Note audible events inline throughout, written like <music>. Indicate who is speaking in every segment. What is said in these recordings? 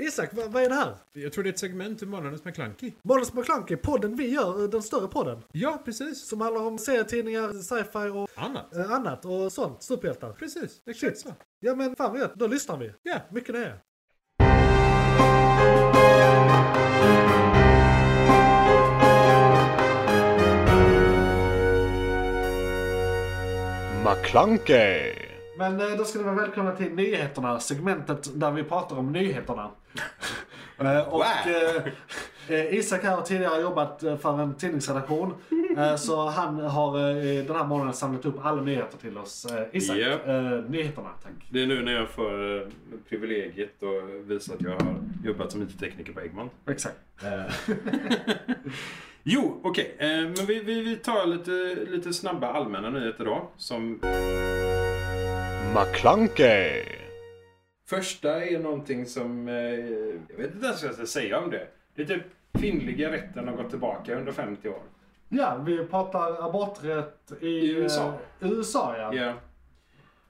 Speaker 1: Isak, vad, vad är det här?
Speaker 2: Jag tror det är ett segment ur Månadens McKlunky.
Speaker 1: Måns McClunky, podden vi gör, eh, den större podden.
Speaker 2: Ja, precis.
Speaker 1: Som handlar om serietidningar, sci-fi och
Speaker 2: Annat.
Speaker 1: eh, annat och sånt. Superhjältar.
Speaker 2: Precis, exakt så.
Speaker 1: Ja men fan vad gött, då lyssnar vi.
Speaker 2: Ja.
Speaker 1: Mycket nöje.
Speaker 3: McClunkey!
Speaker 1: Men eh, då ska ni vara välkomna till nyheterna, segmentet där vi pratar om
Speaker 4: <laughs>
Speaker 1: nyheterna. Eh, och eh, eh, Isak här har tidigare jobbat eh, för en tidningsredaktion. eh, Så han har eh, den här månaden samlat upp alla nyheter till oss. Eh, Isak,
Speaker 4: Ja.
Speaker 1: eh, nyheterna tack.
Speaker 4: Det är nu när jag får eh, privilegiet att visa att jag har jobbat som IT-tekniker på Eggman.
Speaker 1: Exakt.
Speaker 4: Jo, okej. eh, Men vi, vi, vi tar lite, lite snabba allmänna nyheter då. Som
Speaker 3: McClunkey!
Speaker 4: första är någonting som... eh, Jag vet inte ens vad jag ska säga om det. Det är typ kvinnliga rätten har gått tillbaka 150 år.
Speaker 1: Ja, vi pratar aborträtt i,
Speaker 4: I USA.
Speaker 1: eh, USA ja.
Speaker 4: Ja.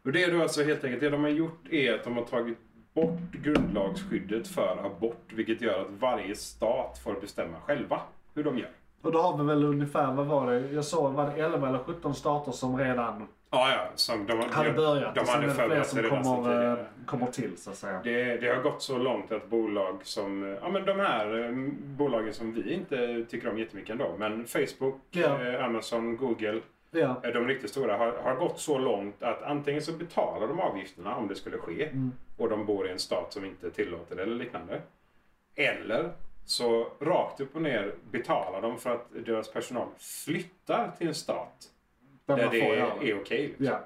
Speaker 4: Och det är då alltså helt enkelt, det de har gjort är att de har tagit bort grundlagsskyddet för abort. Vilket gör att varje stat får bestämma själva hur de gör.
Speaker 1: Och då har vi väl ungefär, vad var det? Jag såg, var det 11 eller 17 stater som redan
Speaker 4: Ja, ja. Som de,
Speaker 1: hade börjat.
Speaker 4: De
Speaker 1: och sen är
Speaker 4: hade
Speaker 1: det fler
Speaker 4: förberett sig
Speaker 1: som
Speaker 4: redan sedan
Speaker 1: kommer, eh,
Speaker 4: tidigare.
Speaker 1: kommer till så att säga.
Speaker 4: Det, det har gått så långt att bolag som, eh, ja men de här eh, bolagen som vi inte tycker om jättemycket ändå, men Facebook,
Speaker 1: Ja.
Speaker 4: eh, Amazon, Google,
Speaker 1: Ja.
Speaker 4: eh, de riktigt stora har, har gått så långt att antingen så betalar de avgifterna om det skulle ske
Speaker 1: Mm.
Speaker 4: och de bor i en stat som inte tillåter det eller liknande. Eller så rakt upp och ner betalar de för att deras personal flyttar till en stat
Speaker 1: Där
Speaker 4: där
Speaker 1: man
Speaker 4: det
Speaker 1: får
Speaker 4: är,
Speaker 1: göra det.
Speaker 4: är okej. liksom.
Speaker 1: Ja.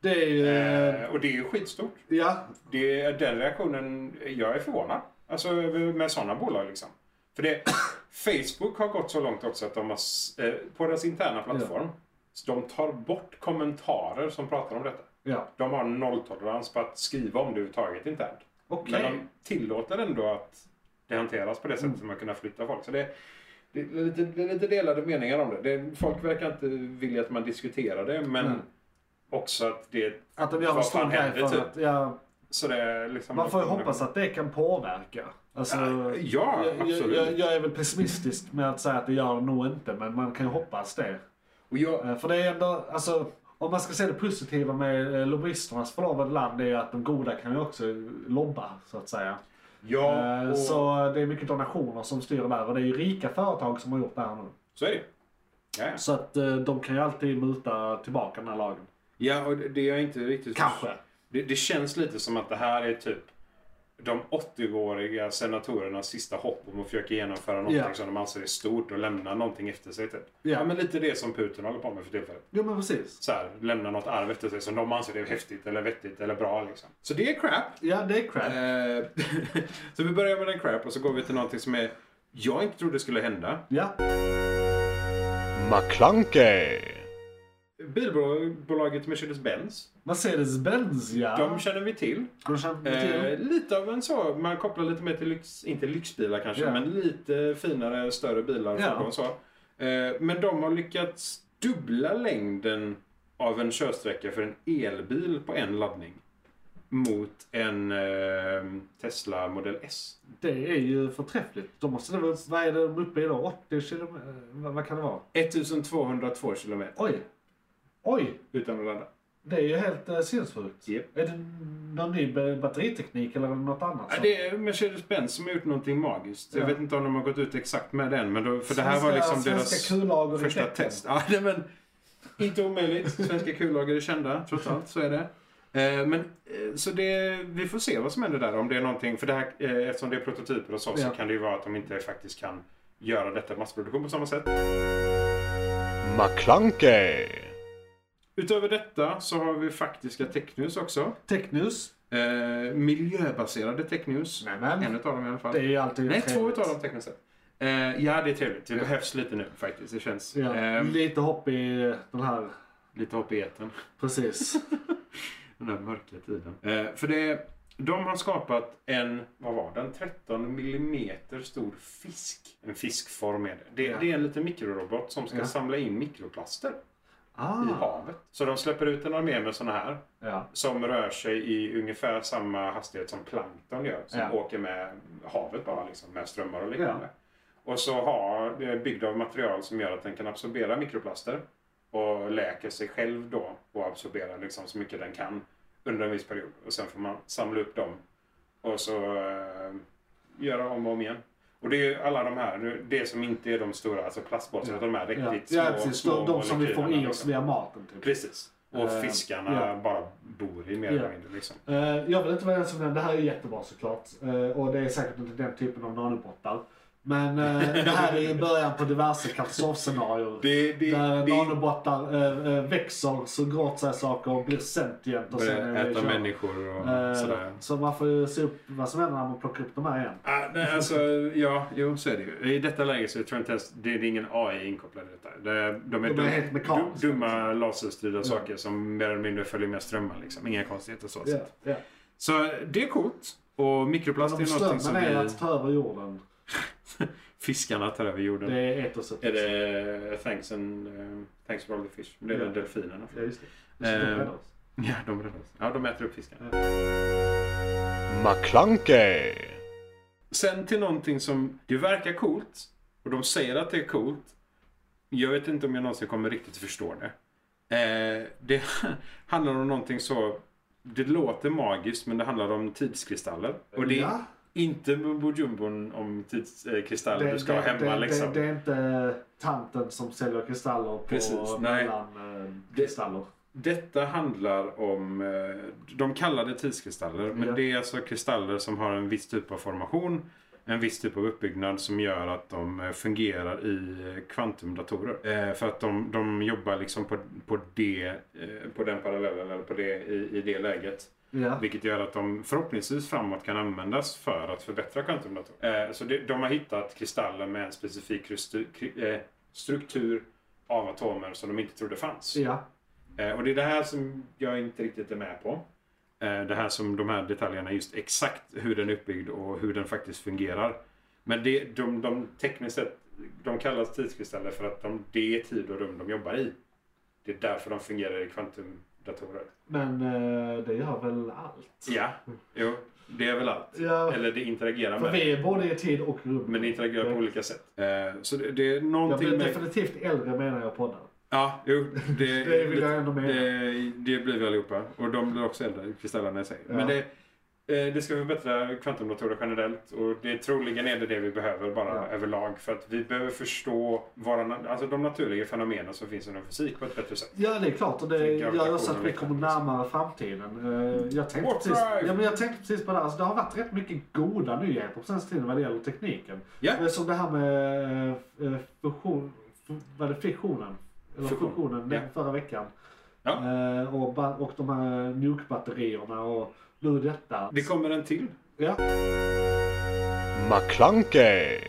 Speaker 1: Det är ju... eh,
Speaker 4: Eh, och det är ju skitstort.
Speaker 1: Ja.
Speaker 4: Det är den reaktionen, jag är förvånad. Alltså med sådana bolag liksom. För det, Facebook har gått så långt också att de har, s- eh, på deras interna plattform, så de tar bort kommentarer som pratar om detta.
Speaker 1: Ja.
Speaker 4: De har nolltolerans på att skriva om det överhuvudtaget internt.
Speaker 1: Okej.
Speaker 4: Men de tillåter ändå att det hanteras på det sättet som man kunna flytta folk. Så det, det, är lite, det är lite delade meningar om det. det. Folk verkar inte vilja att man diskuterar det, men
Speaker 1: Mm.
Speaker 4: också att det...
Speaker 1: Att de gör en
Speaker 4: vad
Speaker 1: stor
Speaker 4: fan
Speaker 1: grej
Speaker 4: händer,
Speaker 1: för
Speaker 4: typ?
Speaker 1: att... Ja,
Speaker 4: Så det är liksom
Speaker 1: man får ju hoppas att det kan påverka. Alltså,
Speaker 4: Ja,
Speaker 1: jag, jag,
Speaker 4: absolut.
Speaker 1: jag, jag är väl pessimistisk med att säga att det gör det nog inte, men man kan ju hoppas det.
Speaker 4: Och jag,
Speaker 1: Eh, För det är ändå, alltså, om man ska se det positiva med eh, lobbyisternas förlovade land, det är ju att de goda kan ju också lobba, så att säga.
Speaker 4: ja,
Speaker 1: Eh,
Speaker 4: och, så...
Speaker 1: Så det är mycket donationer som styr där och det är ju rika företag som har gjort det här nu.
Speaker 4: är det ju. ja, ja.
Speaker 1: Så att eh, de kan ju alltid muta tillbaka den här lagen.
Speaker 4: ja, och det- det är jag inte riktigt...
Speaker 1: Kanske.
Speaker 4: Det, det känns lite som att det här är typ de 80-åriga senatorernas sista hopp om att försöka genomföra någonting
Speaker 1: Ja.
Speaker 4: som de anser är stort och lämna någonting efter sig. Typ.
Speaker 1: Ja.
Speaker 4: Ja, men lite det som Putin håller på med för tillfället.
Speaker 1: Jo men precis.
Speaker 4: Så här, lämna något arv efter sig som de anser är häftigt eller vettigt eller bra. Liksom. Så det är crap.
Speaker 1: Ja, det är crap.
Speaker 4: Eh, <laughs> så vi börjar med den crap och så går vi till någonting som är, jag inte trodde skulle hända.
Speaker 1: Ja.
Speaker 3: McClunkey!
Speaker 4: Bilbolaget Mercedes-Benz,
Speaker 1: Mercedes-Benz ja.
Speaker 4: de känner vi till.
Speaker 1: De känner
Speaker 4: Eh,
Speaker 1: till.
Speaker 4: lite av en så, man kopplar lite mer till lyx, inte lyxbilar kanske,
Speaker 1: Ja.
Speaker 4: men lite finare, större bilar och
Speaker 1: Ja.
Speaker 4: fordon och så. Eh, men de har lyckats dubbla längden av en körsträcka för en elbil på en laddning mot en eh, Tesla Model S.
Speaker 1: Det är ju förträffligt. De måste det väl, vad är det de är uppe i då? 80 kilometer? Vad, vad kan det vara?
Speaker 4: 1202 kilometer
Speaker 1: Oj! Oj!
Speaker 4: utan att ladda.
Speaker 1: Det är ju helt uh, sinnessjukt.
Speaker 4: Japp.
Speaker 1: Är det någon ny ba- batteriteknik eller något annat?
Speaker 4: Ja,
Speaker 1: som-
Speaker 4: det är Mercedes-Benz som har gjort någonting magiskt.
Speaker 1: Ja.
Speaker 4: Jag vet inte om de har gått ut exakt med den, men då, för det här
Speaker 1: Svenska-
Speaker 4: var liksom deras...
Speaker 1: svenska kullager i
Speaker 4: Första
Speaker 1: tecken.
Speaker 4: test. Ja, nej, men inte omöjligt. Svenska kullager är kända, trots allt. Så är det. Eh, Men, eh, så det, vi får se vad som händer där. Om det är någonting, för det här, eh, eftersom det är prototyper och så,
Speaker 1: Ja.
Speaker 4: så kan det ju vara att de inte faktiskt kan göra detta i massproduktion på samma sätt.
Speaker 3: McClunkey!
Speaker 4: Utöver detta så har vi faktiska technews också.
Speaker 1: Technews.
Speaker 4: Eh, miljöbaserade technews.
Speaker 1: Nämen.
Speaker 4: En utav dem i alla fall.
Speaker 1: Det är ju alltid
Speaker 4: Nej, två
Speaker 1: trevligt.
Speaker 4: utav dem tekniskt sett. Eh, ja, det är trevligt. Det behövs lite nu faktiskt. Det känns.
Speaker 1: Ja,
Speaker 4: ehm,
Speaker 1: lite hopp i den här.
Speaker 4: lite hopp i etern.
Speaker 1: Precis.
Speaker 4: <laughs> Den här mörka tiden. Eh, för det, de har skapat en, vad var den, 13 millimeter stor fisk. En fiskform är det. Det,
Speaker 1: Ja.
Speaker 4: det är en liten mikrorobot som ska
Speaker 1: Ja.
Speaker 4: samla in mikroplaster.
Speaker 1: Ah,
Speaker 4: i havet. Så de släpper ut en armé med sådana här
Speaker 1: ja.
Speaker 4: som rör sig i ungefär samma hastighet som plankton gör. Som
Speaker 1: Ja.
Speaker 4: åker med havet bara liksom, med strömmar och liknande. Och så har det är byggd av material som gör att den kan absorbera mikroplaster och läker sig själv då och absorberar liksom så mycket den kan under en viss period. Och sen får man samla upp dem och så eh, göra om och om igen. Och det är ju alla de här, nu- det som inte är de stora, alltså plastpåsarna, utan de här
Speaker 1: Ja,
Speaker 4: riktigt små,
Speaker 1: ja precis.
Speaker 4: små
Speaker 1: De, de som vi får i
Speaker 4: molekylerna,
Speaker 1: oss
Speaker 4: liksom.
Speaker 1: via maten. Typ.
Speaker 4: Precis. Och
Speaker 1: Eh,
Speaker 4: fiskarna
Speaker 1: ja.
Speaker 4: bara bor i mer
Speaker 1: Ja.
Speaker 4: eller mindre. Liksom.
Speaker 1: Eh, jag vill inte vara den som nämner, det här är jättebra såklart. Eh, och det är säkert inte den typen av nanobottar. Men eh, det här är ju
Speaker 4: <laughs>
Speaker 1: början på diverse katastrofscenarier.
Speaker 4: Det, det,
Speaker 1: där
Speaker 4: det,
Speaker 1: nanobottar eh, eh, växer, suger åt sig saker och blir sentient. Och sen är det
Speaker 4: äta
Speaker 1: kört.
Speaker 4: människor och
Speaker 1: Eh,
Speaker 4: sådär.
Speaker 1: så man får ju se upp vad som händer när man plockar upp de här igen.
Speaker 4: Ah, nej, alltså, ja, jo, så är det ju. I detta läget så tror jag inte ens det är ingen AI inkopplad i detta. Det, de är,
Speaker 1: De är
Speaker 4: dum-
Speaker 1: helt liksom. mekaniska.
Speaker 4: du- dumma laserstyrda saker som mer eller mindre följer med strömmar. Liksom. Inga konstigheter så.
Speaker 1: Ja,
Speaker 4: sett.
Speaker 1: ja.
Speaker 4: Så det är coolt. Och mikroplast
Speaker 1: De
Speaker 4: är någonting som
Speaker 1: strömmen
Speaker 4: vi,
Speaker 1: är att ta över jorden.
Speaker 4: <laughs> fiskarna tar över jorden.
Speaker 1: Det är etoset.
Speaker 4: Är det thanks, and, eh, thanks for all the fish? Det är
Speaker 1: Ja.
Speaker 4: väl delfinerna.
Speaker 1: Ja, just det. det ska
Speaker 4: Eh,
Speaker 1: nog rädda oss.
Speaker 4: Ja, de räddar oss. Ja, de äter upp fiskarna.
Speaker 3: McClunkey.
Speaker 4: Sen till någonting som det verkar coolt och de säger att det är coolt. Jag vet inte om jag någonsin kommer riktigt förstå det. Eh, det <laughs> handlar om någonting så... Det låter magiskt men det handlar om tidskristaller. Och det är
Speaker 1: Ja.
Speaker 4: inte mumbojumbon om tidskristaller
Speaker 1: Det-
Speaker 4: du ska
Speaker 1: det-
Speaker 4: ha hemma
Speaker 1: det,
Speaker 4: liksom.
Speaker 1: Det, det är inte tanten som säljer kristaller på
Speaker 4: Precis, nej.
Speaker 1: mellan eh, kristaller.
Speaker 4: Detta handlar om... eh, De kallar det tidskristaller, men
Speaker 1: Ja.
Speaker 4: det är alltså kristaller som har en viss typ av formation, en viss typ av uppbyggnad som gör att de eh, fungerar i eh, kvantumdatorer. Eh, För att de, de jobbar liksom på, på, det, eh, på den parallellen, eller på det, i, i det läget.
Speaker 1: Ja.
Speaker 4: Vilket gör att de förhoppningsvis framåt kan användas för att förbättra kvantumdatorer. Eh, Så det, de har hittat kristaller med en specifik krustu- kri- eh, struktur av atomer som de inte trodde fanns.
Speaker 1: ja.
Speaker 4: Eh, Och det är det här som jag inte riktigt är med på. Eh, Det här som de här detaljerna, just exakt hur den är uppbyggd och hur den faktiskt fungerar. Men det, de, de tekniskt sett, de kallas tidskristaller för att de, det är tid och rum de jobbar i. Det är därför de fungerar i kvantumdatorer.
Speaker 1: Men eh, det gör väl allt?
Speaker 4: Ja, jo, det är väl allt.
Speaker 1: Ja,
Speaker 4: Eller det interagerar
Speaker 1: för
Speaker 4: med
Speaker 1: vi är både i tid och rum.
Speaker 4: men det interagerar på olika sätt. Eh, Så det, det är
Speaker 1: jag
Speaker 4: någonting
Speaker 1: blir
Speaker 4: med...
Speaker 1: definitivt äldre menar jag poddar.
Speaker 4: Ja, jo, det,
Speaker 1: <laughs> Det vill jag ändå mena.
Speaker 4: det, det blir vi allihopa. Och de blir också äldre, kristallerna i sig.
Speaker 1: Ja.
Speaker 4: Men det, eh, det ska förbättra kvantumdatorer generellt och det troligen är det det vi behöver bara
Speaker 1: Ja.
Speaker 4: överlag. För att vi behöver förstå våra, na- alltså de naturliga fenomenen som finns inom fysik på ett bättre sätt.
Speaker 1: Ja, det är klart. Och det
Speaker 4: Tänker
Speaker 1: gör också att vi
Speaker 4: gravitation
Speaker 1: kommer närmare framtiden. Eh, Jag tänkte,
Speaker 4: liksom. Mm. Warp
Speaker 1: precis,
Speaker 4: drive!
Speaker 1: ja, men jag tänkte precis på det här. Alltså, det har varit rätt mycket goda nyheter på senaste tiden vad det gäller tekniken.
Speaker 4: Ja.
Speaker 1: Eh, Som det här med eh, fusion, fu- vad är det, fissionen. Eller
Speaker 4: Fusion,
Speaker 1: fusionen den
Speaker 4: ja.
Speaker 1: förra veckan.
Speaker 4: Ja.
Speaker 1: Eh, Och, ba- och de här nuke-batterierna och nu detta.
Speaker 4: Det kommer en till.
Speaker 1: Ja.
Speaker 3: McClunkey.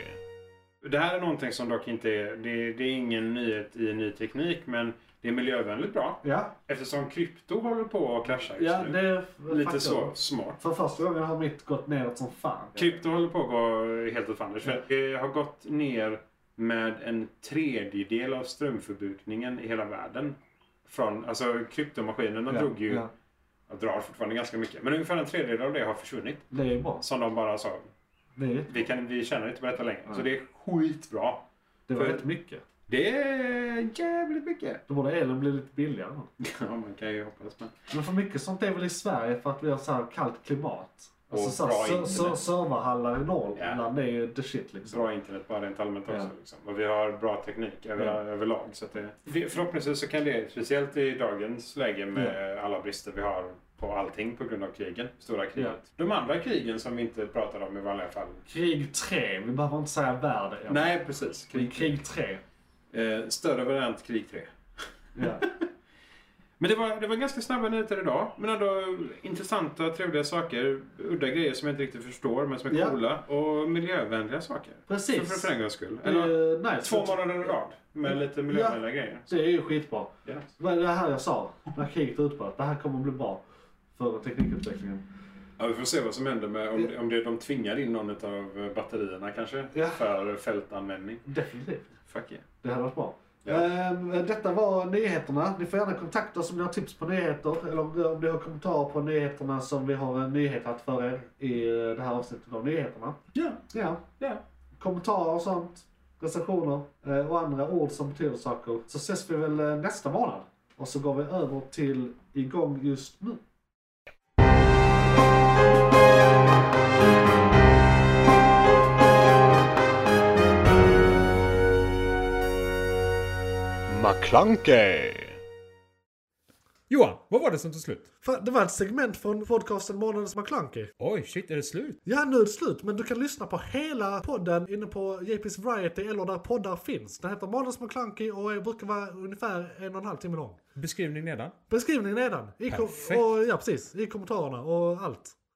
Speaker 4: Det här är någonting som dock inte är, det, det är ingen nyhet i ny teknik men det är miljövänligt bra.
Speaker 1: Ja,
Speaker 4: Eftersom krypto håller på att krascha just
Speaker 1: ja
Speaker 4: nu.
Speaker 1: det är
Speaker 4: Lite
Speaker 1: faktum.
Speaker 4: så Typ, smart.
Speaker 1: För första gången har mitt gått neråt som fan.
Speaker 4: Krypto håller på att gå helt åt fanders. För Det har gått ner med en tredjedel av strömförbrukningen i hela världen. Från, alltså kryptomaskinerna
Speaker 1: Ja,
Speaker 4: drog ju,
Speaker 1: ja.
Speaker 4: och drar fortfarande ganska mycket, men ungefär en tredjedel av det har försvunnit.
Speaker 1: Det är bra.
Speaker 4: Som de bara sa,
Speaker 1: Det, är,
Speaker 4: vi, kan, vi tjänar inte på detta längre. Så det är skitbra.
Speaker 1: det var
Speaker 4: För-
Speaker 1: rätt mycket.
Speaker 4: Det är jävligt mycket.
Speaker 1: Då borde elen bli lite billigare. då.
Speaker 4: Ja, man kan ju hoppas men.
Speaker 1: Men för mycket sånt är väl i Sverige för att vi har så här kallt klimat.
Speaker 4: Och
Speaker 1: Alltså så här,
Speaker 4: bra
Speaker 1: ser-
Speaker 4: internet.
Speaker 1: ser- serverhallar i Norrland är ju the shit liksom.
Speaker 4: Bra internet bara rent allmänt också.
Speaker 1: Ja. Mm.
Speaker 4: Liksom. Och vi har bra teknik över, överlag. Så att det, det, förhoppningsvis så kan det, speciellt i dagens läge med alla brister vi har på allting på grund av krigen, stora kriget. De andra krigen som vi inte pratar om i vanliga fall.
Speaker 1: Krig 3, vi behöver inte säga värld än.
Speaker 4: Nej, precis.
Speaker 1: Krig,
Speaker 4: Krig,
Speaker 1: krig 3.
Speaker 4: Eh, större variant krig 3.
Speaker 1: Ja.
Speaker 4: Men det var, det var ganska snabba nyheter idag. Men ändå intressanta, trevliga saker. Udda grejer som jag inte riktigt förstår, men som är
Speaker 1: Ja.
Speaker 4: coola. Och miljövänliga saker.
Speaker 1: <laughs>
Speaker 4: Så
Speaker 1: Precis.
Speaker 4: för en gångs skull.
Speaker 1: Det
Speaker 4: Eller,
Speaker 1: är, nej,
Speaker 4: två månader i rad med lite miljövänliga grejer.
Speaker 1: Det är ju skitbra.
Speaker 4: Ja.
Speaker 1: Vad är det här jag sa? När kriget utbröt. Det här kommer bli bra för teknikutvecklingen.
Speaker 4: Ja, vi får se vad som händer med om, om det, de tvingar in någon av eh, batterierna kanske
Speaker 1: Ja.
Speaker 4: för fältanvändning.
Speaker 1: Definitivt.
Speaker 4: Fuck yeah.
Speaker 1: Det hade varit bra.
Speaker 4: Ja.
Speaker 1: Ehm, Detta var nyheterna. Ni får gärna kontakta oss om ni har tips på nyheter eller om om ni har kommentarer på nyheterna som vi har en nyhet att för er i eh, det här avsnittet av nyheterna.
Speaker 4: Ja,
Speaker 1: Ja,
Speaker 4: ja.
Speaker 1: kommentarer och sånt, recensioner eh, och andra ord som betyder saker. Så ses vi väl eh, nästa månad. Och så går vi över till igång just nu.
Speaker 3: McClunkey!
Speaker 2: Johan, vad var det som tog slut?
Speaker 1: För det var ett segment från podcasten Månadens McKlunky.
Speaker 2: Oj, shit, är det slut?
Speaker 1: Ja, nu är det slut, men du kan lyssna på hela podden inne på JP's Variety eller där poddar finns. Den heter Månadens McKlunky och är- brukar vara ungefär en och en halv timme lång.
Speaker 2: Beskrivning nedan.
Speaker 1: Beskrivning nedan. I kom-
Speaker 2: Perfekt.
Speaker 1: och, ja, precis. I kommentarerna och allt.